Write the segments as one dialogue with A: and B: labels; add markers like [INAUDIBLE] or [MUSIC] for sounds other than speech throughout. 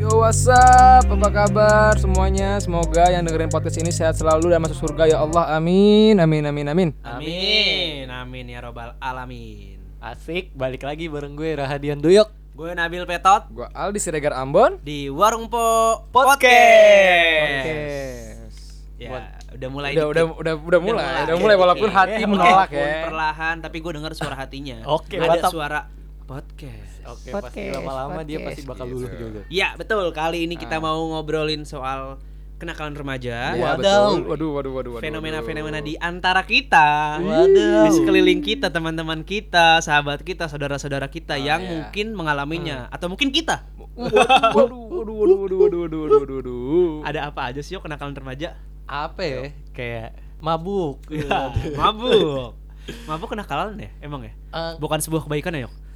A: What's up? Apa kabar semuanya? Semoga yang dengerin podcast ini sehat selalu dan masuk surga ya Allah. Amin. Amin amin amin.
B: Amin, amin ya robbal alamin.
C: Asik, balik lagi bareng gue Rahadian Duyok
B: Gue Nabil Petot
A: Gua Aldi Siregar Ambon.
B: di Warung Po
C: Podcast.
A: Podcast.
B: Ya, udah mulai.
A: Udah, udah
B: dikit.
A: udah udah mulai. Udah mulai
B: dikit.
A: walaupun hati
B: iya, Walaupun
A: menolak ya.
B: Perlahan, tapi gue dengar suara hatinya.
C: Oke,
B: Ada
C: mantap.
B: suara podcast.
C: Oke, pasti lama-lama dia pasti bakal luluh
A: Gitu.
C: juga
B: Ya betul. Kali ini kita mau ngobrolin soal kenakalan remaja.
A: Ya, Ah. betul. Waduh, waduh, waduh, waduh.
B: Fenomena-fenomena di antara kita,
C: Waduh.
B: di sekeliling kita, teman-teman kita, sahabat kita, saudara-saudara kita yang
A: iya. Hmm.
B: mungkin mengalaminya, atau mungkin kita.
A: Waduh, waduh, waduh, waduh, waduh, waduh, waduh, waduh, waduh.
B: Ada apa aja sih yo kenakalan remaja?
C: Apa ya? Kayak mabuk
B: Ya, [LAUGHS] mabuk. Mabuk kenakalan ya, emang ya?
C: Eh,
B: Bukan sebuah kebaikan ya, Yok?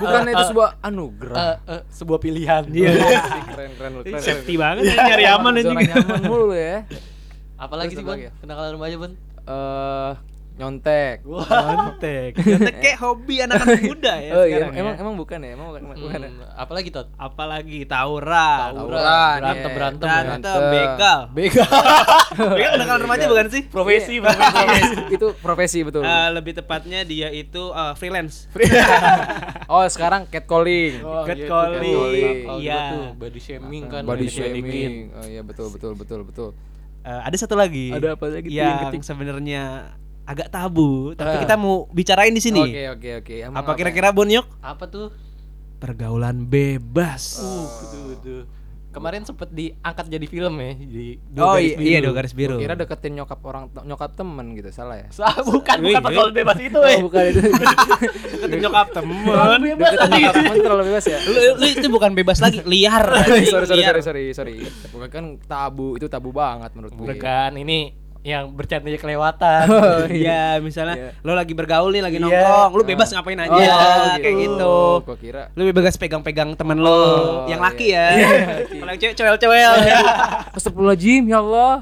A: Bukan itu sebuah anugerah.
C: eh, eh, Sebuah pilihan
A: Asik, keren keren lu, keren.
B: Safety banget ya, nyari aman
A: aja.
B: anjing.
A: nyaman mulu ya.
C: Apalagi
A: Terus apa
C: sih Bon?
A: lagi ya?
C: Kenakalan remaja Bon?
A: Eh, nyontek.
B: Nyontek. [LAUGHS] Nyontek kayak hobi anak-anak muda ya
A: Oh [LAUGHS] iya,
B: sekarang
A: emang
B: ya.
A: emang bukan ya, emang bukan emang bukan. ya?
C: Hmm, apalagi Tot?
B: Apalagi tawuran.
C: Tawuran.
A: ya.
C: berantem,
B: Berantem,
A: [LAUGHS]
B: begal.
C: Bega
B: Begal Iya, kenakalan remaja bukan sih?
C: [LAUGHS] Profesi
A: Iya, [LAUGHS] profesi. itu profesi betul.
B: Eh, lebih tepatnya dia itu eh, freelance.
A: oh, sekarang catcalling.
C: Oh, iya, tuh,
B: Catcalling.
C: catcalling. Kalau
B: Iya.
C: dulu tuh Body shaming kan
A: Body
C: didikin.
A: shaming. Oh iya betul betul betul betul.
B: Eh, ada satu lagi.
A: Ada apa lagi tuh yang
B: yang
A: ketik- Eh.
B: sebenarnya agak tabu, tapi
C: Ah.
B: kita mau bicarain di sini.
A: Oke oke oke. Emang
B: Apa kira-kira Bon Yok?
C: Apa tuh?
B: Pergaulan bebas.
A: Oh.
C: Uh, duh, duh. Kemarin sempet diangkat jadi film ya di Dua
B: Oh
C: Garis
B: iya, iya
C: Biru.
B: dua garis
A: ya?
B: biru.
A: Kira deketin nyokap orang nyokap temen gitu, salah ya?
C: Sa- bukan
B: Wih,
C: bukan pergaulan bebas itu, eh.
A: Oh, bukan
C: [LAUGHS]
A: itu.
B: Deketin nyokap temen
A: deketin nyokap
B: [LAUGHS]
A: temen terlalu bebas ya?
B: lu, Iya. lu itu bukan bebas lagi liar
A: [LAUGHS] sorry sorry
B: Liar.
A: sorry sorry sorry. Bukan kan tabu, itu tabu banget menurut gue.
C: Bukan, ini yang bercandanya kelewatan.
A: Oh.
B: Iya, misalnya
A: Iya.
B: lo lagi bergaul nih, lagi
C: Iya.
B: nongkrong, lu bebas ngapain aja
A: Oh,
B: Iya, kayak gitu.
A: Gua kira
B: Lu bebas pegang-pegang temen lo yang
A: Oh,
B: laki
A: iya.
B: ya.
A: Iya,
B: Kalau yang cewek cowel-cowel.
A: Astagfirullahaladzim ya Allah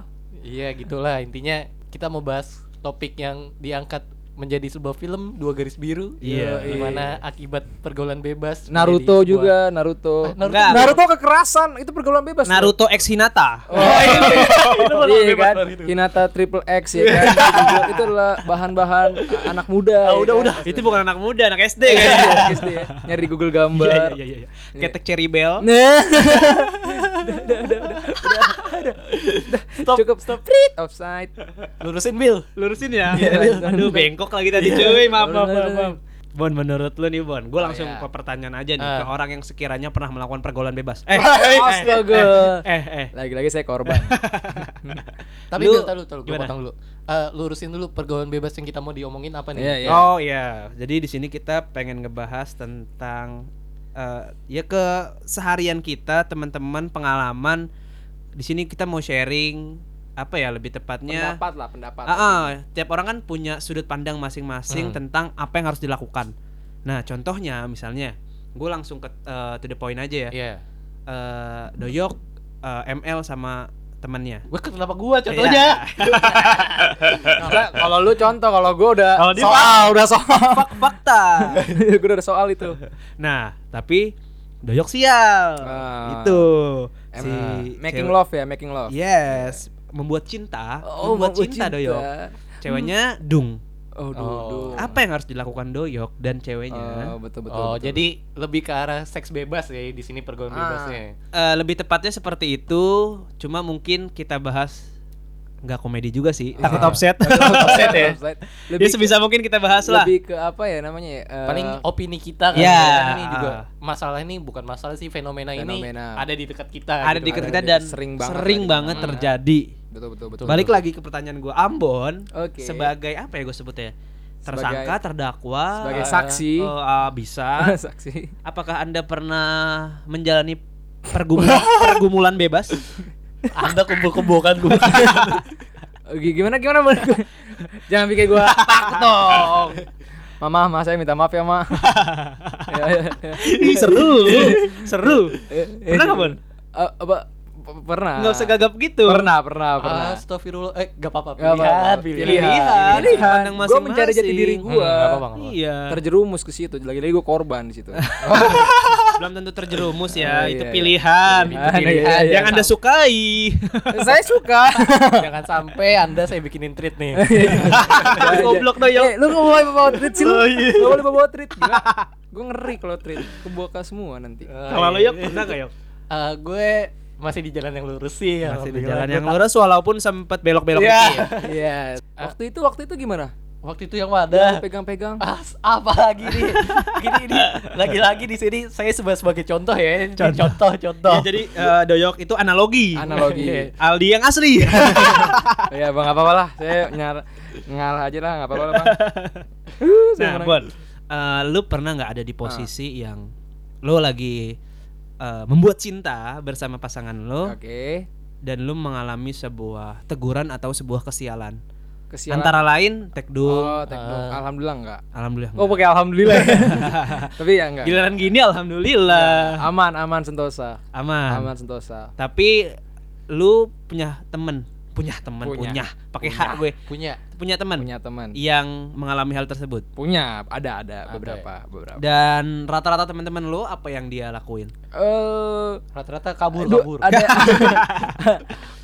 C: iya, gitulah intinya kita mau bahas topik yang diangkat menjadi sebuah film Dua Garis Biru.
B: Iya.
C: Di mana akibat pergaulan bebas
A: Naruto
C: menjadi sebuah-
A: juga Naruto
C: Ah, Naruto.
B: Enggak.
A: Naruto kekerasan itu pergaulan bebas loh.
B: Naruto X Hinata. [LAUGHS]
A: Oh, iya, iya kan Hinata Triple X
B: [LAUGHS]
A: ya kan Itu- itu adalah bahan-bahan a- anak muda ya
C: udah,
A: kan?
C: udah.
B: Ah, Itu bukan anak muda, anak SD
A: Iya,
B: kan.
A: iya, SD ya. nyari di Google gambar
B: Iya,
A: [LAUGHS]
B: iya, iya. Ketek Cherry Bell.
A: Nah. cukup stop Prit, offside
C: Lurusin Bill.
B: Lurusin ya.
A: Iya, iya.
B: Aduh, bengkok lagi tadi cuy. Maaf,
A: Bener,
B: maaf, maaf.
A: bener.
B: maaf. Bon, menurut lu nih Bon, gue
A: Oh,
B: langsung
A: iya.
B: ke pertanyaan aja nih
C: Ah.
B: ke orang yang sekiranya pernah melakukan pergaulan bebas. [LAUGHS] Eh,
A: astaga
B: eh, eh.
A: lagi-lagi saya
B: [LAUGHS]
A: korban
C: Tapi
B: Lu-
C: Bill, tahu dulu,
B: gimana?
C: potong dulu. Eh, lurusin dulu pergaulan bebas yang kita mau diomongin apa nih?
A: Iya, iya.
B: Oh iya, jadi di sini kita pengen ngebahas tentang eh, ya keseharian kita, teman-teman, pengalaman. Di sini kita mau sharing apa ya lebih tepatnya.
A: pendapat lah pendapat
B: Ah, ah, tiap orang kan punya sudut pandang masing-masing
C: Hmm.
B: tentang apa yang harus dilakukan. Nah, contohnya misalnya, gue langsung ke eh, to the point aja ya.
C: Iya.
B: Eh, Doyok, eh, ML sama temannya.
C: Wah, kenapa gua
A: Iya.
C: contohnya?
A: Enggak, Nah, kalau lu contoh kalau gue udah
B: Kalau dia
A: soal udah soal [LAUGHS]
B: Fak- fakta.
A: gue udah ada soal itu
B: [LAUGHS] Nah, tapi doyok sial.
A: Ah.
B: Itu.
A: Em, making
B: cewek-
A: love Oh, ya making love
B: Yes, membuat cinta. membuat, Oh, cinta, doyok.
A: Hmm.
B: Ceweknya dung.
A: oh duh,
C: Oh.
A: duh.
B: Apa yang harus dilakukan doyok dan
A: Oh,
B: ceweknya?
A: betul betul
C: oh,
A: betul. [LAUGHS]
C: jadi lebih ke arah seks bebas ya di sini pergaulan
A: Ah.
C: bebasnya.
B: Eh, lebih tepatnya seperti itu, cuma mungkin kita bahas nggak komedi juga sih. Takut offset.
A: [LAUGHS] Offside ya
B: Ya sebisa mungkin kita bahas lah.
A: lebih ke apa ya namanya ya eh,
C: Paling opini kita kan
B: ya.
C: kadang-kadang ini juga masalah ini bukan masalah sih fenomena,
A: Fenomena.
C: ini ada di dekat kita.
B: ada
C: gitu
B: [LAUGHS] di
C: kan.
B: kita
A: ada
B: dan
A: di-
B: sering
A: sering banget ada
B: banget,
A: di mana-mana.
B: terjadi.
A: betul betul betul
B: Balik lagi ke pertanyaan gua Ambon
A: Oke.
B: sebagai apa ya gue sebutnya? Tersangka,
A: Sebagai-
B: terdakwa,
A: sebagai
B: eh,
A: saksi.
B: oh, ah, bisa
A: [LAUGHS] saksi
B: Apakah Anda pernah menjalani
A: [LAUGHS]
B: pergumulan, pergumulan bebas?
C: Anda kumpul-kumpulkan [LAUGHS] gua.
A: Oke, Oh, gimana gimana Bang? [LAUGHS] jangan bikin gua takut
B: [LAUGHS]
A: dong Mama, ma saya minta maaf ya, Ma. Ya, ya, ya.
B: Ih, [LAUGHS] seru, seru.
A: Eh, eh, [LAUGHS]
B: Pernah nggak, Bon?
A: Eh, apa P- pernah.
B: nggak usah gagap gitu
A: Pernah, pernah, pernah.
C: Astagfirullah. Eh, gak apa-apa. Iya,
A: Nggak apa-apa.
C: Pilihan,
B: Pilihan. [LAUGHS]
C: pilihan.
A: Pilihan.
B: Pilihan.
A: Gue mencari jati diri
B: Masing-masing.
A: gue.
C: Hmm, nggak apa-apa, nggak apa-apa.
B: iya
A: Terjerumus ke situ. Lagi-lagi gue korban
B: [LAUGHS]
A: di situ.
B: belum tentu terjerumus
A: Oh,
B: ya
A: iya,
B: itu
A: iya.
B: pilihan
A: Pilihan,
B: Itu pilihan.
A: iya, iya,
B: yang
A: iya.
B: anda
A: [LAUGHS]
B: sukai [LAUGHS]
A: Saya suka.
C: Jangan sampai Anda saya bikinin treat
B: [LAUGHS]
C: nih. Eh,
B: goblok tuh
A: Eh,
B: ya
A: lu nggak boleh bawa treat sih lu.
B: Oh, iya.
A: Nggak boleh bawa
B: [LAUGHS]
A: treat. Gila. Gue ngeri kalau treat kebuka semua nanti.
B: kalau lo
C: ya
B: yuk pernah gak yuk
C: Eh, gue masih di jalan yang lurus sih.
B: masih di
C: alhamdulillah.
B: jalan yang
C: Gua tak-
B: lurus walaupun sempat belok-belok
C: Iya.
B: dikit.
A: Iya. [LAUGHS] Waktu itu waktu itu gimana?
C: Waktu itu yang
A: Lu
C: wadah.
B: Iya.
A: Pegang-pegang.
C: Ah, s- apa lagi
B: [LAUGHS]
C: nih? Gini nih, lagi-lagi di sini saya sebagai sebagai contoh ya. Ini
B: Contoh.
C: Contoh, contoh.
B: Ya, jadi eh, doyok itu analogi. Iya.
A: Analogi.
B: Aldi yang asli.
A: [LAUGHS] Iya bang, apa-apa lah. Saya nyar ngalah aja lah, nggak apa-apa lah
B: [LAUGHS]
A: bang.
B: nah, Bon, eh, lu pernah nggak ada di
A: Ah.
B: posisi yang lu lagi eh, membuat cinta bersama pasangan lu
A: Ya. Oke.
B: dan lu mengalami sebuah teguran atau sebuah kesialan?
A: Kesialan.
B: Antara lain tekdung,
A: Oh, teknik.
C: Ah.
A: Alhamdulillah enggak.
B: alhamdulillah.
A: Oh,
B: nggak.
A: pakai alhamdulillah. [LAUGHS] Tapi ya enggak.
B: Giliran gini alhamdulillah.
A: Aman, aman sentosa.
B: Aman.
A: Ya. Aman sentosa.
B: Tapi lu punya temen, punya temen,
A: Punya.
B: punya, pakai hak gue.
C: punya
B: Punya temen
A: Punya teman.
B: yang mengalami hal tersebut.
A: Punya, ada ada
C: Ada.
A: beberapa, beberapa.
B: Dan rata-rata teman-teman lo apa yang dia lakuin?
A: Eh,
C: rata-rata kabur,
A: Aduh,
C: kabur.
A: Ada. [LAUGHS]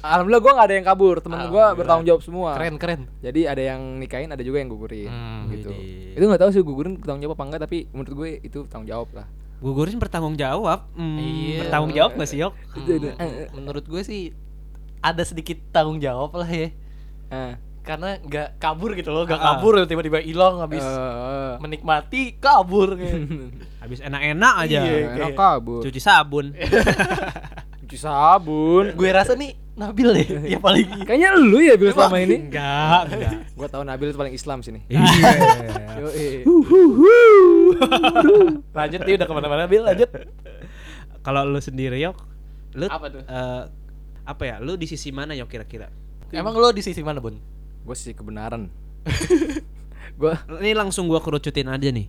A: Alhamdulillah gue gak ada yang kabur. Temen gue bertanggung jawab semua.
C: Keren, keren.
A: Jadi ada yang nikahin, ada juga yang gugurin.
C: Hmm,
A: gitu.
B: widih.
A: Itu nggak tahu sih gugurin bertanggung jawab apa enggak, tapi menurut gue itu tanggung jawab lah.
B: Gugurin bertanggung jawab. Hmm,
C: Iya.
B: Bertanggung jawab gak sih yok?
A: eh,
C: Hmm, menurut gue sih ada sedikit tanggung jawab lah ya
A: Ah.
C: karena nggak kabur gitu loh nggak
B: Ah.
C: kabur tiba-tiba hilang habis
A: Eh,
C: menikmati [LAUGHS] kabur kayak.
B: Habis enak-enak aja.
C: Iya,
A: eh, enak
C: kayak-
A: kabur.
B: Cuci sabun.
A: Cuci sabun.
C: gue rasa nih Nabil deh [LAUGHS] ya paling
A: Kayaknya lu ya Bil selama ini.
B: Enggak, enggak.
A: Gua tahu Nabil paling Islam sini.
B: Iya.
A: Yoi.
C: lanjut nih udah kemana-mana Bil lanjut
B: Kalau lu sendiri yok, lu
C: Apa tuh?
B: eh, apa ya? Lu di sisi mana yok kira-kira?
C: emang lo di sisi mana bun
A: Gua sih kebenaran. Gua
B: Ini langsung gua kerucutin aja nih.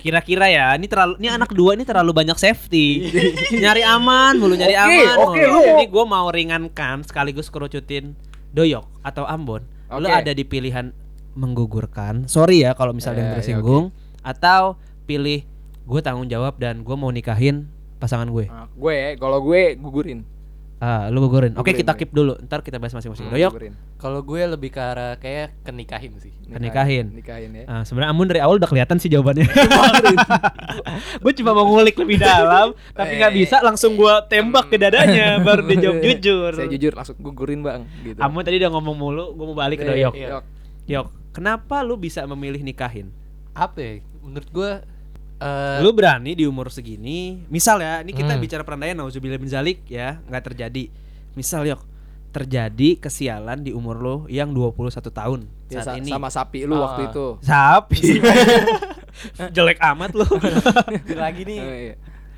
B: Kira-kira ya, ini terlalu ini anak dua ini terlalu banyak safety. nyari aman, mulu nyari
A: Oke,
B: aman. mulu.
A: oke, lu-
B: Jadi gua mau ringankan sekaligus kerucutin Doyok atau Ambon. Lu
A: Oke.
B: ada di pilihan menggugurkan. Sorry ya kalau misalnya
A: Eh,
B: yang
A: ya,
B: tersinggung atau pilih gue tanggung jawab dan gue mau nikahin pasangan gue.
A: ah, gue kalau gue gugurin.
B: Ah, lu gugurin. Oke,
A: Gugurin, gugurin.
B: kita
A: Hmm,
B: keep dulu. Ntar kita bahas masing-masing. Doyok,
A: Gugurin.
C: kalau gue lebih ke arah kayak kenikahin sih
B: Kenikahin.
A: Nikahin ya.
B: Ah, sebenarnya Ambon dari awal udah kelihatan sih [LAUGHS] jawabannya. gue cuma mau ngulik lebih dalam, tapi nggak bisa langsung gua tembak ke dadanya, [LAUGHS] baru dia jawab jujur. gitu.
A: Saya jujur langsung gugurin, Bang, gitu.
B: Ambon tadi udah ngomong mulu, gue mau balik ke Doyok.
C: iya.
B: Yok, kenapa lu bisa memilih nikahin?
C: apa ya? menurut gue eh
B: Lu berani di umur segini, misal ya, ini kita
C: Hmm.
B: bicara perandaian nauzubillah min zalik ya, nggak terjadi. Misal Yok, terjadi kesialan di umur lu yang 21 tahun
A: Ya,
B: saat
A: sa-
B: ini.
A: sama sapi lu
C: Ah.
A: waktu itu.
B: [LAUGHS] Sapi. Jelek amat [LAUGHS] lu.
C: lagi [LAUGHS] nih
A: Oh, iya.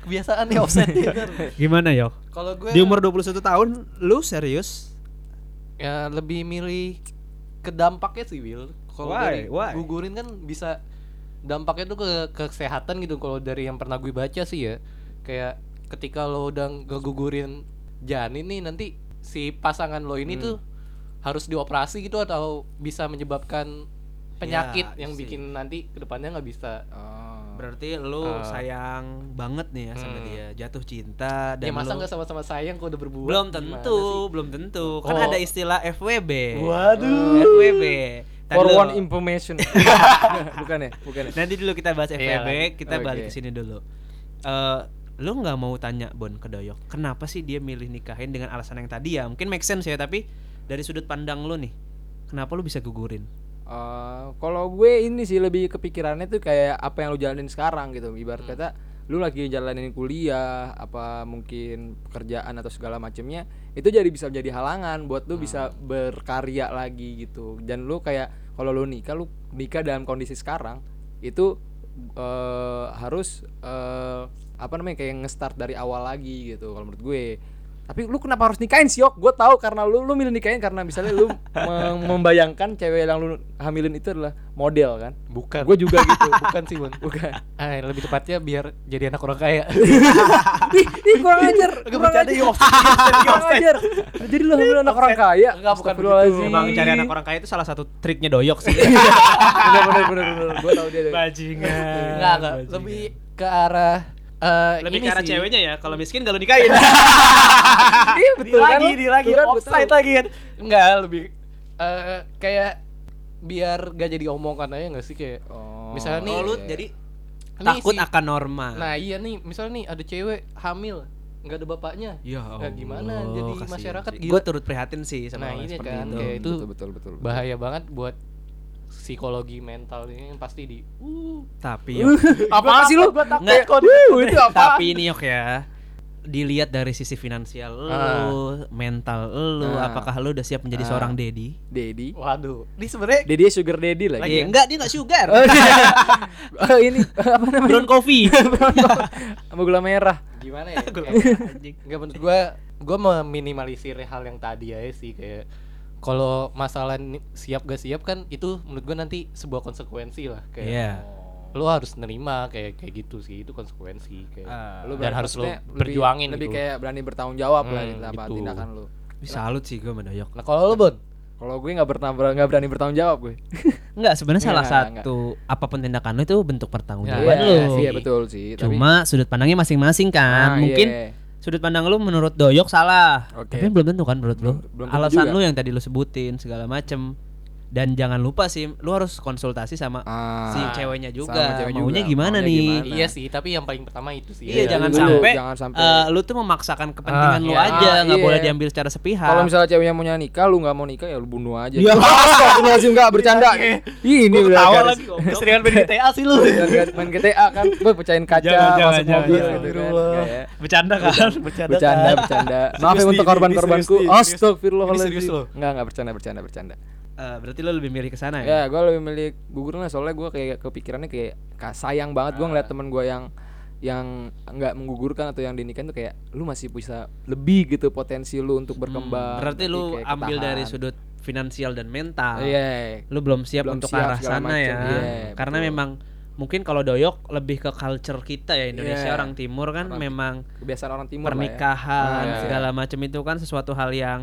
C: kebiasaan nih offset nih, [LAUGHS] ntar.
B: Gimana Yok?
C: kalau gue
B: Di umur 21 tahun lu serius?
C: ya lebih milih ke dampaknya sih Will kalau
B: Why?
C: dari
B: Why?
C: gugurin kan bisa dampaknya tuh ke, ke kesehatan gitu kalau dari yang pernah gue baca sih ya kayak ketika lo udah ngegugurin janin nih nanti si pasangan lo
B: Hmm.
C: ini tuh harus dioperasi gitu atau bisa menyebabkan penyakit
B: Ya,
C: yang
B: sih.
C: bikin nanti kedepannya nggak bisa
A: Oh.
B: Berarti lu
C: Ah.
B: sayang banget nih ya sama
C: Hmm.
B: dia, jatuh cinta
C: ya
B: dan
C: masa
B: lu-
C: nggak sama-sama sayang kalau udah berbuat
B: belum
C: Gimana
B: tentu, belum tentu.
C: Oh.
B: Kan ada istilah FWB.
C: sih? waduh
B: FWB. Ntar
A: For
B: dulu.
A: one
B: [LAUGHS]
A: information. bukan ya? Bukan ya?
B: Nanti dulu kita bahas
C: Iya,
B: FWB,
C: lanjut.
B: kita
A: Oke.
B: balik ke sini dulu. Eh, lu nggak mau tanya Bon ke Doyok, kenapa sih dia milih nikahin dengan alasan yang tadi ya? Mungkin make sense ya, tapi dari sudut pandang lu nih, kenapa lu bisa gugurin?
A: Eh, kalau gue ini sih lebih kepikirannya tuh kayak apa yang lu jalanin sekarang gitu. Ibarat kata lu lagi jalanin kuliah, apa mungkin pekerjaan atau segala macemnya, itu jadi bisa menjadi halangan buat lu bisa berkarya lagi gitu. Dan lu kayak kalau lu nikah, lu nikah dalam kondisi sekarang itu eh, harus eh, apa namanya kayak nge-start dari awal lagi gitu kalau menurut gue. tapi lu kenapa harus nikahin sih yok gue tahu karena lu lu milih nikahin karena misalnya
B: [LAUGHS]
A: lu mem- membayangkan cewek yang lu hamilin itu adalah model kan
C: Bukan.
A: gue juga gitu
C: bukan sih,
B: [LAUGHS]
C: Bun.
A: bukan
C: Ah, lebih tepatnya biar jadi anak orang kaya.
A: ih ih kurang ajar
B: Agak
A: kurang
B: bercanda
A: ajar
B: iya, yuk.
A: kurang ajar jadi lu hamil anak orang kaya
C: Enggak, bukan
A: Astagfirullahaladzim.
B: Emang cari anak orang kaya itu salah satu triknya doyok [LAUGHS] sih.
A: bener bener bener bener gue tahu dia deh.
B: Bajingan.
C: Enggak, enggak. Lebih ke arah eh,
B: lebih
C: ini
B: ke arah
C: sih.
B: ceweknya ya. Kalau miskin kalau nikahin.
A: iya betul kan
B: lagi,
A: lu?
B: di lagi,
A: Betul kan,
B: offside
A: betul.
B: lagi kan.
C: Enggak, lebih eh, kayak biar gak jadi omongan aja gak sih kayak
A: Oh,
C: Misalnya nih,
B: Oh, lu
A: iya.
B: jadi
C: Ini
B: takut
C: sih-
B: akan norma.
C: Nah iya nih, misalnya nih ada cewek hamil nggak ada bapaknya.
B: ya
C: Nah, gimana jadi masyarakat gila.
B: Gue turut prihatin sih sama
C: Nah,
B: orang
C: ini
B: seperti
C: kan,
B: itu.
C: kayak- itu
A: Gitu. betul betul betul, betul.
C: Bahaya banget buat psikologi mental ini yang pasti di. Uh, [LAUGHS]
B: Tapi
A: Yuk.
B: yuk,
A: Apaan sih lu?
C: Gua takut.
B: Nggak.
A: Wuh, itu apa?
B: tapi ini yok ya dilihat dari sisi finansial
C: Ah.
B: lu, mental lu,
A: Ah.
C: Nah.
B: apakah lu udah siap menjadi
A: Ah.
B: seorang daddy?
A: Dedi.
C: Waduh. Ini sebenarnya
A: Dedi sugar daddy lagi.
B: Lagi
A: ya? [LAUGHS]
B: enggak dia enggak
C: [LAUGHS]
B: sugar.
A: Oh, iya. Eh, ini [LAUGHS] apa namanya?
B: Brown
C: [LAUGHS]
B: coffee.
A: Sama gula merah.
C: gimana
A: [LAUGHS]
C: ya?
B: Gua-
C: Kayak-
B: Anjing.
C: Nggak menurut gua gua meminimalisir hal yang tadi aja sih kayak kalau masalah ni- siap gak siap kan itu menurut gua nanti sebuah konsekuensi lah kayak
B: Iya.
C: lu harus nerima kayak kayak gitu sih itu konsekuensi kayak
B: Ah.
C: Dan
A: berani-
C: harus lu
A: maksudnya lebih-
C: berjuangin
A: lebih
C: gitu.
A: kayak berani bertanggung jawab lah
C: Hmm,
A: gitu apa
C: gitu.
A: tindakan lu.
B: Ih, Salut sih gue mendoyok.
C: nah kalau lu bon
A: Kalau gue nggak bertanggung nggak berani bertanggung jawab gue.
B: Enggak, sebenarnya salah
A: Enggak, enggak,
B: satu apapun tindakan lu itu bentuk pertanggungjawaban
A: Iya,
B: lu.
A: Iya betul sih. tapi-
B: Cuma sudut pandangnya masing-masing
A: Ah,
B: kan. Mungkin
A: iya.
B: sudut pandang lu menurut Doyok salah.
A: Oke.
B: Tapi belum tentu kan menurut lu.
A: Belum- belum tentu
B: Alasan
A: juga.
B: lu yang tadi lu sebutin segala macem dan jangan lupa sih lu harus konsultasi sama
A: Ah,
B: si ceweknya juga.
A: sama cewek
B: Maunya
A: juga.
B: gimana
A: Maunya
B: nih?
A: gimana?
C: iya sih tapi yang paling pertama itu sih
B: Iya,
A: Iya,
B: jangan,
A: dulu,
B: sampai,
A: jangan sampai.
B: eh, lu tuh memaksakan kepentingan
C: Ah,
B: lu
C: iya.
B: aja,
A: Ah,
B: nggak
A: iya.
B: boleh diambil secara sepihak.
A: Kalau misalnya ceweknya mau nikah, lu nggak mau nikah ya lu bunuh aja.
B: Iya.
A: Astagfirullahaladzim nggak bercanda.
B: Iya,
A: Ini
B: Gua
A: udah
B: ketawa
A: garis-
B: lagi, goblok.
C: Keseringan main GTA sih lu
A: Dan ga- main GTA kan gue pecahin kaca
B: Jangan, jangan,
A: masuk
B: jangan,
A: mobil gitu
B: jangan.
A: kan
C: Astagfirullah.
A: Nggak ya.
B: [LAUGHS] bercanda kan?
A: bercanda bercanda maaf ya untuk
C: Serius, Di, ini
A: korban-korbanku
C: serius, Di, serius. Ini serius
A: astagfirullahaladzim
C: loh.
A: nggak nggak bercanda bercanda bercanda
B: Eh, berarti lu lebih milih ke sana ya?
A: ya gue lebih milih gugur lah soalnya gue kayak kepikirannya kayak ka- sayang banget gue
B: Ah.
A: ngeliat temen gue yang yang nggak menggugurkan atau yang dinikahin tuh kayak lu masih bisa lebih gitu potensi lu untuk berkembang
B: Hmm, Berarti
A: Tapi
B: lu
A: kayak
B: ambil
A: ketahan.
B: dari sudut finansial dan mental.
A: iya
B: Lu belum siap
A: Belum
B: untuk
A: siap
B: arah
A: segala
B: sana
A: macem,
B: ya.
A: iya,
B: Karena
A: betul.
B: memang mungkin kalau doyok lebih ke culture kita ya Indonesia
A: Iya.
B: orang timur kan
A: Orang-
B: memang
A: kebiasaan orang timur lah ya.
B: pernikahan
A: Nah, iya.
B: segala macam itu kan sesuatu hal yang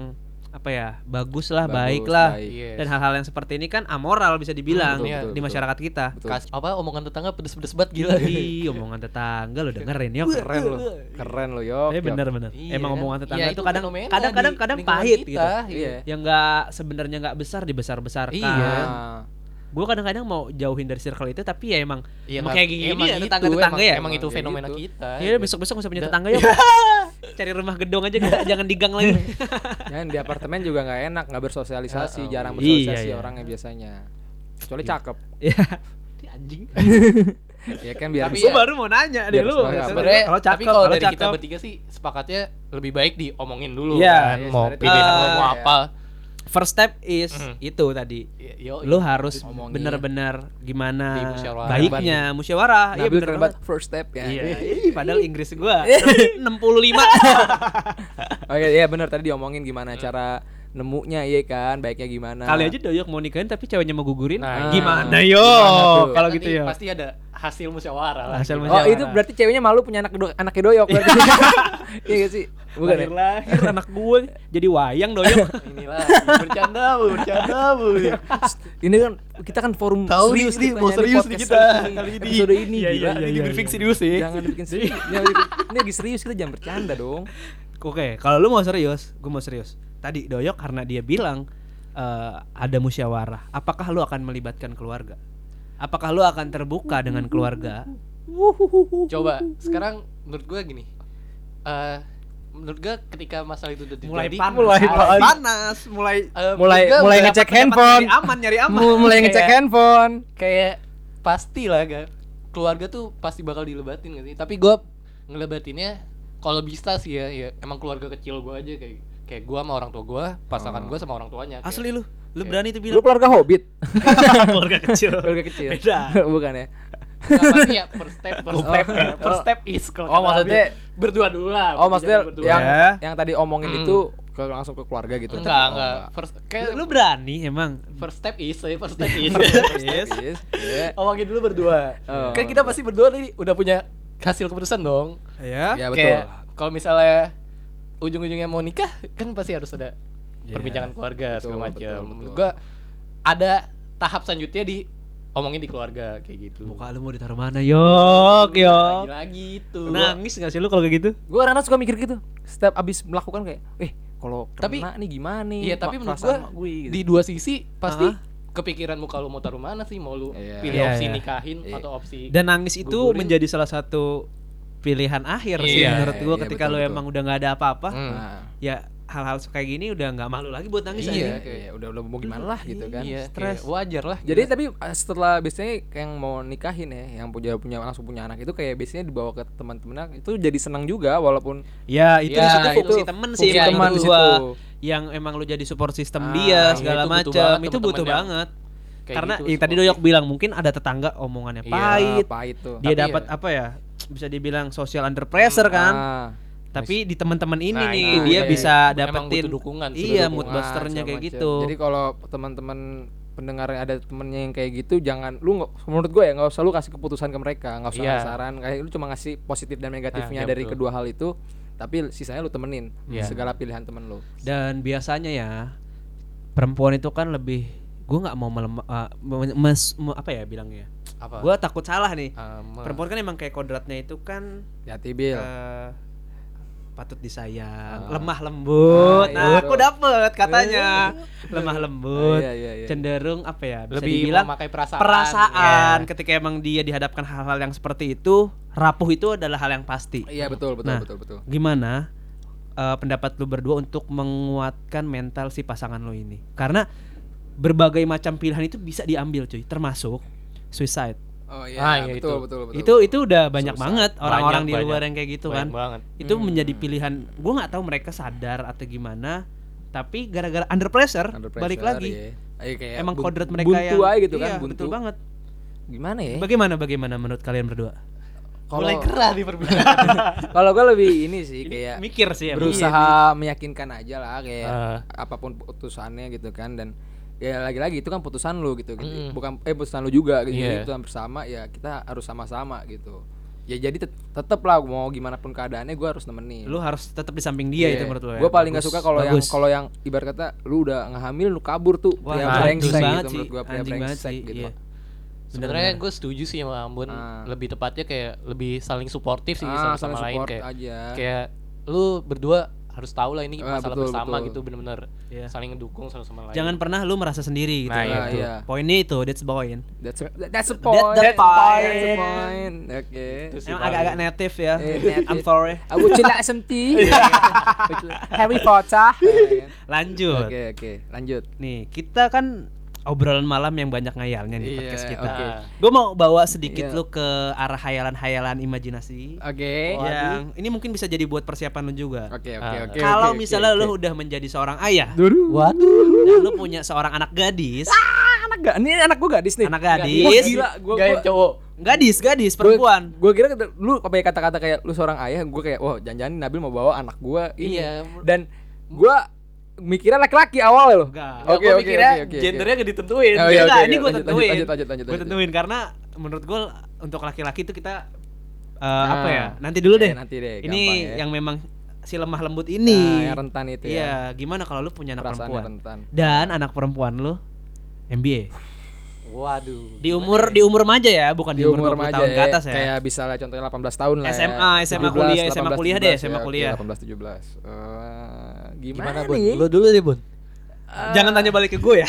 B: apa ya? Bagus
A: ya.
B: lah,
A: Bagus, Hmm,
B: baik lah.
C: Iya.
B: Dan hal-hal yang seperti ini kan amoral bisa dibilang ya,
A: Betul, betul,
B: di
A: betul.
B: masyarakat kita.
A: Betul.
C: Kas, apa omongan tetangga pedes-pedes banget gila
A: [LAUGHS]
B: Ih, omongan tetangga lu dengerin ya.
A: keren lo keren lo yo
B: Tapi bener-bener.
C: Iya kan?
B: Emang omongan
A: Ya,
B: tetangga
C: Iya,
B: itu
C: itu
B: kadang
C: fenomena
B: kadang-kadang
C: di
B: kadang
C: lingkungan
B: pahit
C: kita,
B: gitu.
A: iya.
B: Yang nggak sebenarnya nggak besar dibesar-besarkan.
C: Iya.
B: Gue kadang-kadang mau jauhin dari circle itu tapi ya emang
C: Iya,
B: emang
C: nggak-
B: kayak gini
C: emang
B: ya
C: gitu,
B: tetangga-tetangga
C: emang-
B: ya.
C: Emang itu
A: Emang
C: fenomena
A: gitu.
C: kita.
B: Ya udah, besok-besok gak usah punya
C: Da-
B: tetangga
C: [LAUGHS]
B: yuk. Cari rumah gedung aja nggak- jangan di gang lagi.
A: Dan di apartemen juga nggak enak, nggak bersosialisasi,
C: Heeh.
A: jarang
B: Iya,
A: bersosialisasi
B: iya.
A: orangnya biasanya. Kecuali cakep.
B: Ya. anjing.
A: ya kan biar
C: Iya. Tapi
A: bisa-
B: Gue baru mau nanya deh
A: Biar
B: lu. gitu.
A: semangat.
C: Sebenarnya
B: Kalau
C: Iya, tapi
B: cakep,
C: kalau
B: kalau
C: dari kita
B: cakep.
C: bertiga sih sepakatnya lebih baik diomongin dulu
B: Iya,
C: kan.
A: iya,
C: mau
A: sebenarnya
C: pilihan
B: itu.
C: lo mau
A: Iya.
C: apa.
B: First step is
C: Mm.
B: itu tadi.
C: Y- Yo,
B: Lu harus
A: Omongin.
B: bener-bener gimana
C: Dimusyawarah.
B: baiknya musyawarah.
A: Nah,
B: Iya
A: bener
B: bener
A: banget
B: banget.
A: first step ya.
B: Iya, ih, padahal Inggris
C: [LAUGHS]
B: gua 65.
A: Oh iya, iya bener tadi diomongin gimana cara nemunya iya kan, baiknya gimana.
B: Iya. Kali aja doyok mau nikahin tapi ceweknya mau gugurin.
C: Nah,
B: gimana
A: gimana
B: yo?
A: tuh?
B: Kalau
C: Nanti
B: gitu ya.
C: Pasti ada hasil musyawarah lah. Gitu.
B: Hasil
A: Oh,
B: musyawarah.
A: itu berarti ceweknya malu punya anak do anaknya doyok berarti. [LAUGHS] Iya gak sih? Bukan ya?
B: lahir [LAUGHS] anak gue jadi wayang
A: [LAUGHS]
B: doyok.
C: Inilah bercanda bu,
B: [LAUGHS]
C: bercanda bu.
A: Iya. Ini kan kita kan forum
C: Tahu nih, ini
A: kita
C: mau
A: nyari
C: serius nih
A: podcast
C: kita
A: ini,
C: kali ini.
A: Episode ini
B: Iya,
A: gila.
B: iya, iya,
C: Berpikir
B: iya.
C: serius sih.
A: Jangan bikin
B: [LAUGHS]
A: serius. Jangan bikin- Ini lagi serius kita jangan bercanda dong.
B: Oke, kalau lu mau serius, gue mau serius. Tadi doyok karena dia bilang eh, ada musyawarah. Apakah lu akan melibatkan keluarga? Apakah lu akan terbuka dengan keluarga?
C: Coba sekarang menurut gua gini. Eh menurut gua ketika masalah itu udah
B: Mulai
C: terjadi,
B: panas,
A: mulai panas.
B: panas, mulai
C: eh,
A: Mulai-
C: menurut gua
A: mulai
C: udah
A: ngecek
B: dapat- dapat
A: handphone.
B: Nyari aman, nyari aman.
A: Mu- Mulai ngecek
C: Kayak-
A: handphone.
C: kayak pasti lah gak keluarga tuh pasti bakal dilebatin gak sih tapi gue ngelebatinnya kalau bisa sih ya, ya emang keluarga kecil gue aja kayak kayak gue sama orang tua gue pasangan gue sama orang tuanya kayak-
B: Asli lu, lu berani tuh
A: Lu
B: bilang [LAUGHS]
A: keluarga hobbit.
B: keluarga kecil.
A: keluarga kecil
B: Beda.
A: [LAUGHS] bukan ya
C: Nggak, berarti ya per step per
D: Oh.
C: step ya. per step is kalau
A: Oh,
C: kata
A: maksudnya-
C: Abi. berdua dulu lah
A: Oh maksudnya
C: Jangan berdua.
A: yang
B: Ya.
A: yang tadi omongin
C: Mm.
A: itu ke, langsung ke keluarga gitu.
C: enggak
A: Oh,
C: enggak first kayak
B: Lu berani emang.
C: first step is eh, first step
A: [LAUGHS]
C: is
B: Yes.
A: Yes, iya.
C: omongin dulu berdua
A: Oh.
C: kan kita pasti berdua nih udah punya hasil keputusan dong
B: Ya.
A: Ya betul.
C: kayak kalau misalnya ujung-ujungnya mau nikah kan pasti harus ada
B: Iya.
C: perbincangan keluarga
A: Betul,
C: segala
A: betul,
C: macam.
A: betul.
C: Menurut gua ada tahap selanjutnya di omongin di keluarga kayak gitu.
B: Muka lu mau ditaruh mana? Yok, yok.
C: Lagi-lagi itu.
B: Nangis gak sih lu kalau kayak gitu?
A: Gue kadang suka mikir gitu. Setiap abis melakukan kayak, eh kalau
C: Tapi-
A: kena nih gimana nih?
C: Iya, tapi menurut gua
B: Nah,
A: gitu."
C: di dua sisi pasti kepikiran muka lu mau taruh mana sih mau lu
A: Iya.
C: pilih
B: Iya,
C: opsi
B: iya.
C: nikahin
A: Iya.
C: atau opsi
B: Dan nangis itu
C: Gugurin.
B: menjadi salah satu pilihan akhir sih
C: Iya,
B: menurut gua
A: iya,
B: ketika
A: betul,
B: lu
A: betul.
B: emang udah nggak ada apa-apa.
C: Hmm.
B: Ya hal-hal kayak gini udah nggak malu lagi buat nangis
C: Iya.
B: aja.
A: kayak udah udah mau gimana lah gitu kan.
C: Iya,
B: stres.
C: kayak wajar lah.
A: Jadi tapi eh, setelah biasanya yang mau nikahin ya, yang punya punya langsung punya anak itu kayak biasanya dibawa ke teman-temannya itu jadi senang juga walaupun
B: Ya itu
C: Ya,
B: di situ
C: itu
B: fungsi temen sih
A: fungsi
B: menurut
A: teman di
B: gua.
A: situ.
B: yang emang lu jadi support
A: Ah,
B: system dia
A: iya,
B: segala
C: itu butuh
B: macam
C: banget
B: itu butuh
C: temen-temen yang
B: banget.
C: kayak
B: Karena
C: gitu,
B: yang tadi
C: supportive.
B: Doyok bilang mungkin ada tetangga omongannya
A: Iya,
B: pahit,
A: pahit tuh.
B: dia
C: Tapi
B: dapat
C: ya-
B: apa ya? Bisa dibilang social under pressure kan.
A: Ah,
B: Tapi di teman-teman ini
C: Nah,
B: nih
C: itu
B: dia
A: iya,
B: bisa
C: iya. Emang
B: dapetin
C: butuh dukungan sih,
B: Iya,
C: butuh
B: mood
A: dukungan,
B: busternya
A: segala
B: kayak
A: macem.
B: gitu.
A: Jadi kalau teman-teman pendengar yang ada temennya yang kayak gitu jangan lu nggak menurut gue ya nggak usah lu kasih keputusan ke mereka nggak usah
C: Iya.
A: ngasih saran kayak lu cuma ngasih positif dan negatifnya
B: Ah,
C: iya
A: dari
C: betul.
A: kedua hal itu tapi sisanya lu temenin
C: Iya.
A: segala pilihan temen lu
B: Dan biasanya ya perempuan itu kan lebih gua nggak mau melem eh, me- mes- me- apa ya bilangnya?
C: apa?
B: Gua takut salah nih.
C: Ah, mah.
B: Perempuan kan emang kayak kodratnya itu kan
A: hati bil
B: eh, patut disayang,
A: Iya. Ah.
B: lemah lembut.
A: Ah, iya,
B: nah, aku
A: betul.
B: dapet katanya lemah lembut,
A: Iya, iya, iya.
B: cenderung apa ya? Bisa
C: lebih
B: dibilang
C: memakai perasaan.
B: perasaan iya.
C: Ya.
B: ketika emang dia dihadapkan hal-hal yang seperti itu, rapuh itu adalah hal yang pasti.
A: iya betul betul
B: Nah.
A: betul betul
B: Gimana eh, pendapat lu berdua untuk menguatkan mental si pasangan lu ini? Karena berbagai macam pilihan itu bisa diambil cuy, termasuk suicide.
A: oh
C: Ah,
A: iya
C: iya,
A: betul,
C: itu.
A: betul betul
B: itu itu udah banyak
A: Suicide.
B: banget orang-orang di
C: Banyak,
B: luar
C: banyak.
B: yang kayak gitu kan.
C: Banyak banget.
B: itu
A: Hmm.
B: menjadi pilihan gue nggak tahu mereka sadar atau gimana tapi gara-gara under pressure,
A: Under
B: balik
A: pressure,
B: lagi
A: iya. Ayo kayak
B: emang
A: bun-
B: kodrat mereka
A: buntu
B: yang
A: aja gitu kan
B: iya,
A: buntu
B: betul banget
A: gimana ya
B: bagaimana bagaimana menurut kalian berdua [LAUGHS]
C: Mulai
A: kalau
C: gerah di perbulan.
A: kalau gue lebih ini sih kayak
B: mikir sih iya,
A: berusaha meyakinkan aja lah kayak
C: Ah.
A: apapun putusannya gitu kan dan ya lagi-lagi itu kan putusan lu gitu, gitu.
C: Mm.
A: bukan eh putusan lu juga gitu
C: Iya.
A: Jadi putusan bersama ya kita harus sama-sama gitu ya jadi tet- tetep lah mau gimana pun keadaannya gue harus nemenin
B: Iya. lu harus tetap di samping dia itu menurut lo
A: gue
B: ya
A: Iya. paling gak
B: Bagus,
A: suka kalau yang
B: bagus.
A: kalau yang ibarat kata lu udah ngehamil lu kabur tuh
B: Wah,
A: pria
B: anjing
A: brengsek gitu
B: banget sih,
A: menurut gue pria
B: anjing banget
A: brengsek
B: sih,
A: gitu
B: iya.
C: Sebenarnya gue setuju sih sama Ambon.
A: Ah.
C: Lebih tepatnya kayak lebih saling suportif sih
A: Ah,
C: sama sama
A: saling
C: lain
A: support
C: kayak
A: aja.
C: kayak lu berdua harus tahu lah ini
A: Ah,
C: masalah
A: betul,
C: bersama
A: betul.
C: gitu bener-bener
B: Iya.
C: saling ngedukung satu sama lain.
B: jangan pernah lu merasa sendiri gitu
C: Nah,
B: ya.
A: iya, iya.
B: poinnya itu that's the point
A: that's a, that's a point
B: the point.
A: that's a point oke
C: Terus
B: emang
C: dibangun.
B: agak-agak native ya
A: Eh, native.
B: I'm sorry
A: I would you like some tea?
B: Iya.
A: [LAUGHS] Harry Potter.
B: lanjut
A: Oke oke lanjut.
B: nih kita kan obrolan malam yang banyak ngayalnya nih podcast kita
A: Iya, Oke.
C: Nah,
B: Gue mau bawa sedikit
A: Iya.
B: lu ke arah hayalan-hayalan imajinasi.
A: Oke. Iya.
B: Yang ini mungkin bisa jadi buat persiapan lu juga.
A: Oke oke
C: Ah.
A: oke.
B: Kalau
A: oke, oke,
B: misalnya
A: oke.
B: lu udah menjadi seorang ayah
C: Waduh.
B: dan lu punya seorang anak gadis,
A: anak gak ini anak gua gadis nih.
B: anak
A: Wah,
B: gadis,
A: gila gua
C: Gaya
A: gua-
C: cowok.
B: gadis, gadis perempuan.
A: Gua, gua kira kata- lu apa ya kata-kata kayak lu seorang ayah, gua kayak wah jangan-jangan Nabil mau bawa anak gua ini.
C: Iya.
A: Dan gua mikirnya laki-laki awalnya loh.
B: Enggak.
A: Oke,
C: Gua
A: oke,
C: mikirnya
A: oke, oke, oke.
C: gendernya gak ditentuin.
A: Oh, iya,
B: Enggak,
A: oke,
B: ini
A: oke,
B: gue
A: lanjut,
B: tentuin.
A: lanjut, lanjut, lanjut,
B: Gua
A: lanjut.
B: tentuin karena menurut gue untuk laki-laki itu kita eh, apa
A: Nah.
B: ya? Nanti dulu
A: Iya,
B: deh.
A: nanti deh,
B: Ini
A: gampang ya.
B: yang memang si lemah lembut
A: Nah,
B: ini.
A: yang rentan itu
B: Iya,
A: ya.
B: gimana kalau lu punya anak
A: Perasaan
B: perempuan?
A: rentan.
B: Dan anak perempuan lu MBA.
C: Waduh.
B: di umur di umur remaja ya bukan di, umur 20 tahun ke atas ya
A: Kayak bisa lah contohnya 18 tahun lah. ya.
B: SMA, SMA
A: 17,
B: kuliah, SMA
A: 18,
B: kuliah deh,
A: 17, ya,
B: SMA
A: oke,
B: kuliah.
A: 18 17. Eh, gimana,
C: Gimana,
A: gimana
C: Bun?
A: nih?
C: Lu dulu deh, Bun.
A: Eh.
B: jangan tanya balik ke
A: [LAUGHS]
B: gue ya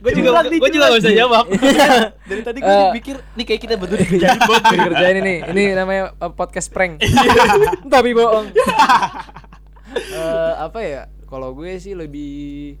B: gue juga
C: Curhat nih,
B: gue juga gak bisa [LAUGHS] jawab
C: Dari tadi
A: gua Eh.
C: gue pikir nih kayak kita berdua
A: [LAUGHS]
C: dikerjain Bun.
A: Ini kerjain ini. Ini namanya uh, podcast
B: [LAUGHS]
A: prank.
B: Iya.
A: Tapi bohong. Eh, apa ya? Kalau gue sih lebih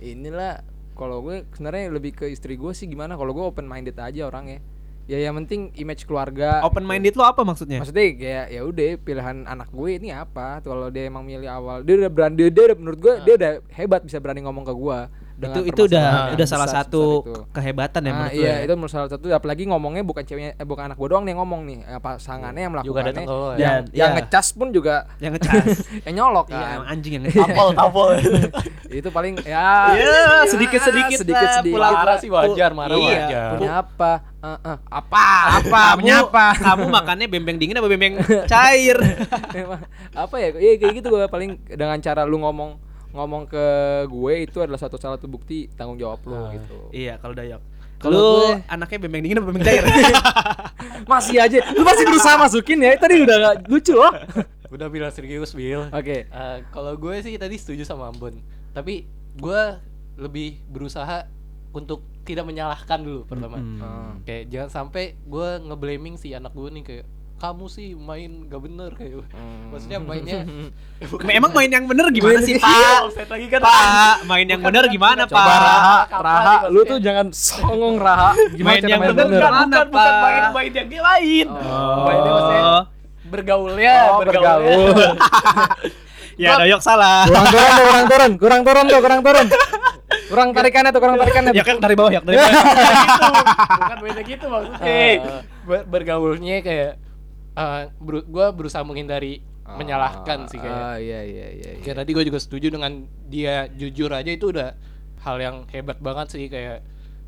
A: inilah kalau gue sebenarnya lebih ke istri gue sih gimana kalau gue open minded aja orangnya. Ya yang penting image keluarga.
B: open minded lo apa maksudnya
A: Maksudnya kayak ya udah pilihan anak gue ini apa? Kalau dia emang milih awal, dia udah berani dia, dia udah menurut gue dia udah hebat bisa berani ngomong ke gue. dengan
B: itu itu udah
A: permasalahan
B: udah
A: yang
B: salah
A: besar
B: satu
A: sebesar itu.
B: ke- kehebatan ya
A: Ah,
B: menurut
A: iya,
B: lu ya?
A: itu menurut salah satu apalagi ngomongnya bukan ceweknya eh, bukan anak gua doang nih yang ngomong nih, eh, pasangannya yang
C: Juga
A: melakukannya.
C: datang ke lo ya.
A: Yang,
B: Dan-
A: yang
B: iya.
A: ngecas pun juga
B: yang
A: [LAUGHS]
B: ngecas
A: yang nyolok
B: Iya, emang
A: kan.
B: anjing yang ngecas
D: Tapol,
B: [LAUGHS]
D: tapol.
A: itu paling ya
B: Iya,
A: sedikit
B: sedikit-sedikit lah,
A: sedikit
B: pulang.
C: marah sih wajar marah
B: Iya.
C: wajar
A: punya apa Eh, eh, apa apa
B: Kamu-
A: punya apa
B: kamu makannya bembeng dingin apa bembeng
A: [LAUGHS]
B: cair
A: Emang, apa ya ya kayak gitu gua paling dengan cara lu ngomong ngomong ke gue itu adalah satu salah satu bukti tanggung jawab lu gitu
B: iya kalau dayok
A: Kalau
B: lu
A: gue-
B: anaknya bembeng dingin apa bembeng
A: [LAUGHS]
B: cair
A: masih aja lu masih berusaha masukin ya tadi udah gak lucu
B: [LAUGHS]
A: loh
C: udah bilang serius bil
A: Oke.
C: Eh, kalau gue sih tadi setuju sama Ambon tapi gue lebih berusaha untuk tidak menyalahkan dulu pertama
A: Hmm.
C: kayak jangan sampai gue ngeblaming si anak gue nih kayak kamu sih main gak bener kayak gitu. maksudnya
A: [LAUGHS]
C: mainnya
A: Hmm.
C: [LAUGHS]
B: emang main yang bener gimana sih
A: Iya,
B: pak
C: offset lagi kan
B: pak main yang bener gimana
C: Coba,
B: pak
A: Raha,
C: Kapan
A: Raha,
C: nih
A: lu
C: maksudnya?
A: tuh jangan songong Raha. Gimana
B: Main
A: cara
B: yang
A: main
B: bener
A: bener?
B: kan? Mana, Pak?
D: main yang lain.
A: Oh.
C: Mainnya maksudnya
B: Oh.
C: bergaulnya
A: Oh, bergaul.
B: ya dayok salah
A: kurang turun tuh, kurang turun, kurang turun tuh, kurang turun. Kurang tarikannya tuh, kurang tarikannya.
B: ya kan dari bawah ya dari bawah
C: [LAUGHS] bukan beda gitu maksudnya
A: Eh.
C: Ber- bergaulnya kayak eh beru- gue berusaha menghindari menyalahkan sih kayaknya
A: Ah, iya iya iya.
B: Gitu
A: iya.
C: Kayak tadi gue juga setuju dengan dia jujur aja itu udah hal yang hebat banget sih kayak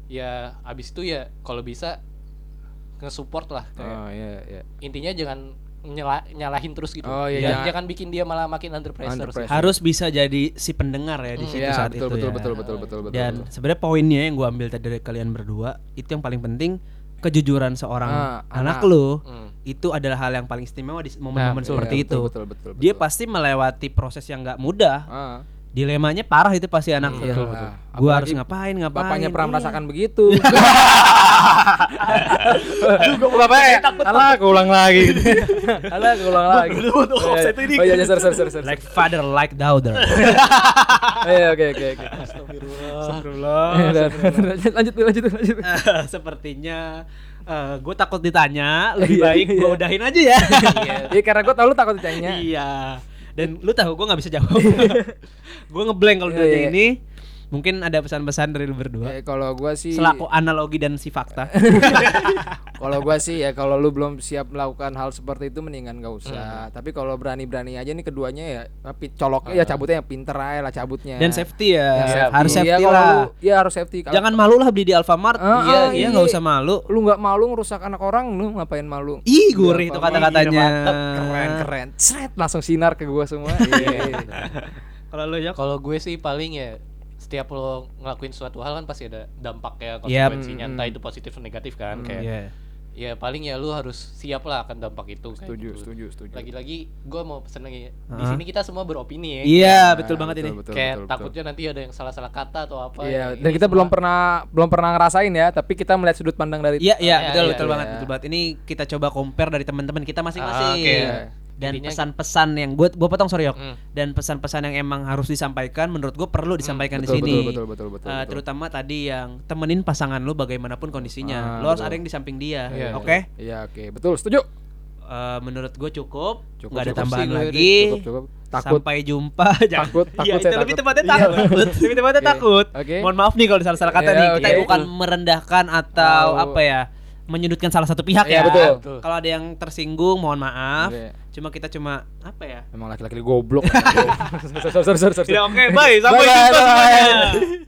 C: ya abis itu ya kalau bisa nge-support lah
B: ya.
C: kayak
A: Oh iya iya.
C: intinya jangan nyela- nyalahin terus gitu.
A: Oh, iya,
C: jangan,
A: jangan-
C: jangan bikin dia malah makin under pressure.
A: Under
C: sih.
A: pressure.
B: harus bisa jadi si pendengar ya di situ
A: Iya,
B: saat
A: betul
B: itu
A: betul
B: ya.
A: betul betul betul betul.
B: Dan sebenarnya poinnya yang gua ambil tadi dari kalian berdua itu yang paling penting kejujuran seorang
A: Ah,
B: anak,
A: anak.
B: lu
C: Hmm.
B: itu adalah hal yang paling istimewa di momen-momen
A: Iya,
B: seperti
A: betul,
B: itu.
A: Betul betul betul.
B: Dia pasti melewati proses yang nggak mudah.
A: Ah,
B: Dilemanya parah itu pasti anak
A: iya
B: lu.
A: lah. Apalagi
B: Gua harus ngapain ngapain.
A: Bapaknya pernah
B: Iya.
A: merasakan
B: [LAUGHS]
A: begitu. Bapaknya, alah aku ulang lagi. Alah aku ulang lagi. Oh, iya. Oh iya, iya, sorry, sorry, sorry, sorry.
B: Like father like daughter. [LAUGHS]
A: Oh, iya, oke, oke, oke.
B: Iya,
A: Eh, udah, lanjut, lanjut, lanjut, lanjut.
B: Eh, Sepertinya gue takut ditanya, lebih
A: Iya,
B: baik
A: iya.
B: gue udahin aja ya.
A: [LAUGHS] Iya, karena gue tau lu takut ditanya.
B: Iya. Dan lu tahu gue nggak bisa
A: [LAUGHS]
B: jawab. gue ngeblank kalau
A: Iya,
B: ditanya
A: iya.
B: ini. Mungkin ada pesan-pesan dari lu berdua.
A: Eh, kalau gue sih,
B: Selaku analogi dan si
A: [LAUGHS]
B: fakta.
A: Iya. kalau gue sih ya kalau lu belum siap melakukan hal seperti itu mendingan gak
B: Hmm,
A: usah. Tapi kalau berani-berani aja nih keduanya ya, tapi coloknya ya cabutnya yang pinter aja lah cabutnya.
B: Ah. dan safety ya.
A: Ya,
B: Harus
A: iya,
B: safety
A: kalau
B: lah.
A: lu- Iya harus safety. Kalau-
B: Jangan malu lah beli di Alfamart.
A: Ah,
B: iya,
A: ah,
B: iya
A: iya.
B: nggak usah malu.
A: lu nggak malu ngerusak anak orang, lu ngapain malu?
B: Ih, gurih itu
A: Alfamart.
B: kata-katanya.
A: Keren keren. Sret langsung sinar ke gua
B: [LAUGHS]
A: semua. Iya.
B: gitu. Kalau lu ya
C: Kalau gue sih paling ya setiap lo ngelakuin suatu hal kan pasti ada dampaknya
B: Yap.
C: konsekuensinya
A: Mm,
C: entah
A: mm. iya.
C: itu positif atau negatif kan kayak ya paling ya lu harus siap lah akan dampak itu kayak
A: setuju,
C: gitu.
A: setuju, setuju.
C: lagi-lagi gue mau pesen lagi di
B: Hah?
C: sini kita semua beropini ya
B: Iya,
A: Nah,
B: betul banget ini.
A: betul,
C: kayak
A: betul, betul.
C: takutnya nanti ada yang salah-salah kata atau apa
A: Iya,
C: ya.
A: dan
C: Ini
A: kita
C: semua-
A: belum pernah belum pernah ngerasain ya, tapi kita melihat sudut pandang dari
B: Iya, iya,
C: Ah,
B: betul,
C: iya,
B: betul
A: iya.
B: banget, betul banget. Ini kita coba compare dari teman-teman kita masing-masing.
C: Ah, oke.
A: Iya.
B: Dan
C: Jadinya-
B: pesan-pesan yang gue gue potong sorry yok.
C: Hmm.
B: Dan pesan-pesan yang emang harus disampaikan menurut gue perlu disampaikan
A: betul,
B: kan di sini.
A: betul, betul, betul, betul,
B: Eh,
A: betul.
B: terutama tadi yang temenin pasangan lu bagaimanapun
A: Ah,
B: kondisinya. lo harus
A: betul.
B: ada yang di samping dia.
C: Iya,
B: Oke?
A: Iya, oke. Betul, setuju.
B: Eh, menurut gue cukup.
A: Cukup,
B: Nggak ada
A: cukup
C: sih
B: tambahan
C: gue,
B: lagi.
A: Cukup, cukup. Takut.
B: Sampai jumpa. [LAUGHS] Jangan.
A: Takut,
B: Iya,
A: takut,
B: itu
A: saya
B: lebih
A: takut.
B: tepatnya
A: Iya.
B: [LAUGHS] takut. lebih tepatnya
A: Oke,
B: takut.
A: oke.
B: Mohon maaf nih kalau salah-salah kata
A: Iya,
B: nih. Kita
A: oke.
B: bukan merendahkan atau
A: Oh.
B: apa ya menyudutkan salah satu pihak
A: Iya,
B: ya.
A: betul.
C: Betul.
B: Kalau ada yang tersinggung, mohon maaf.
A: Iya.
B: Cuma kita cuma apa ya? [LAUGHS]
A: Emang laki-laki goblok. Sorry, sorry, sorry, sorry, sorry.
B: Tidak oke, bye.
A: Bye,
B: Sampai jumpa
A: bye, bye.
B: semuanya.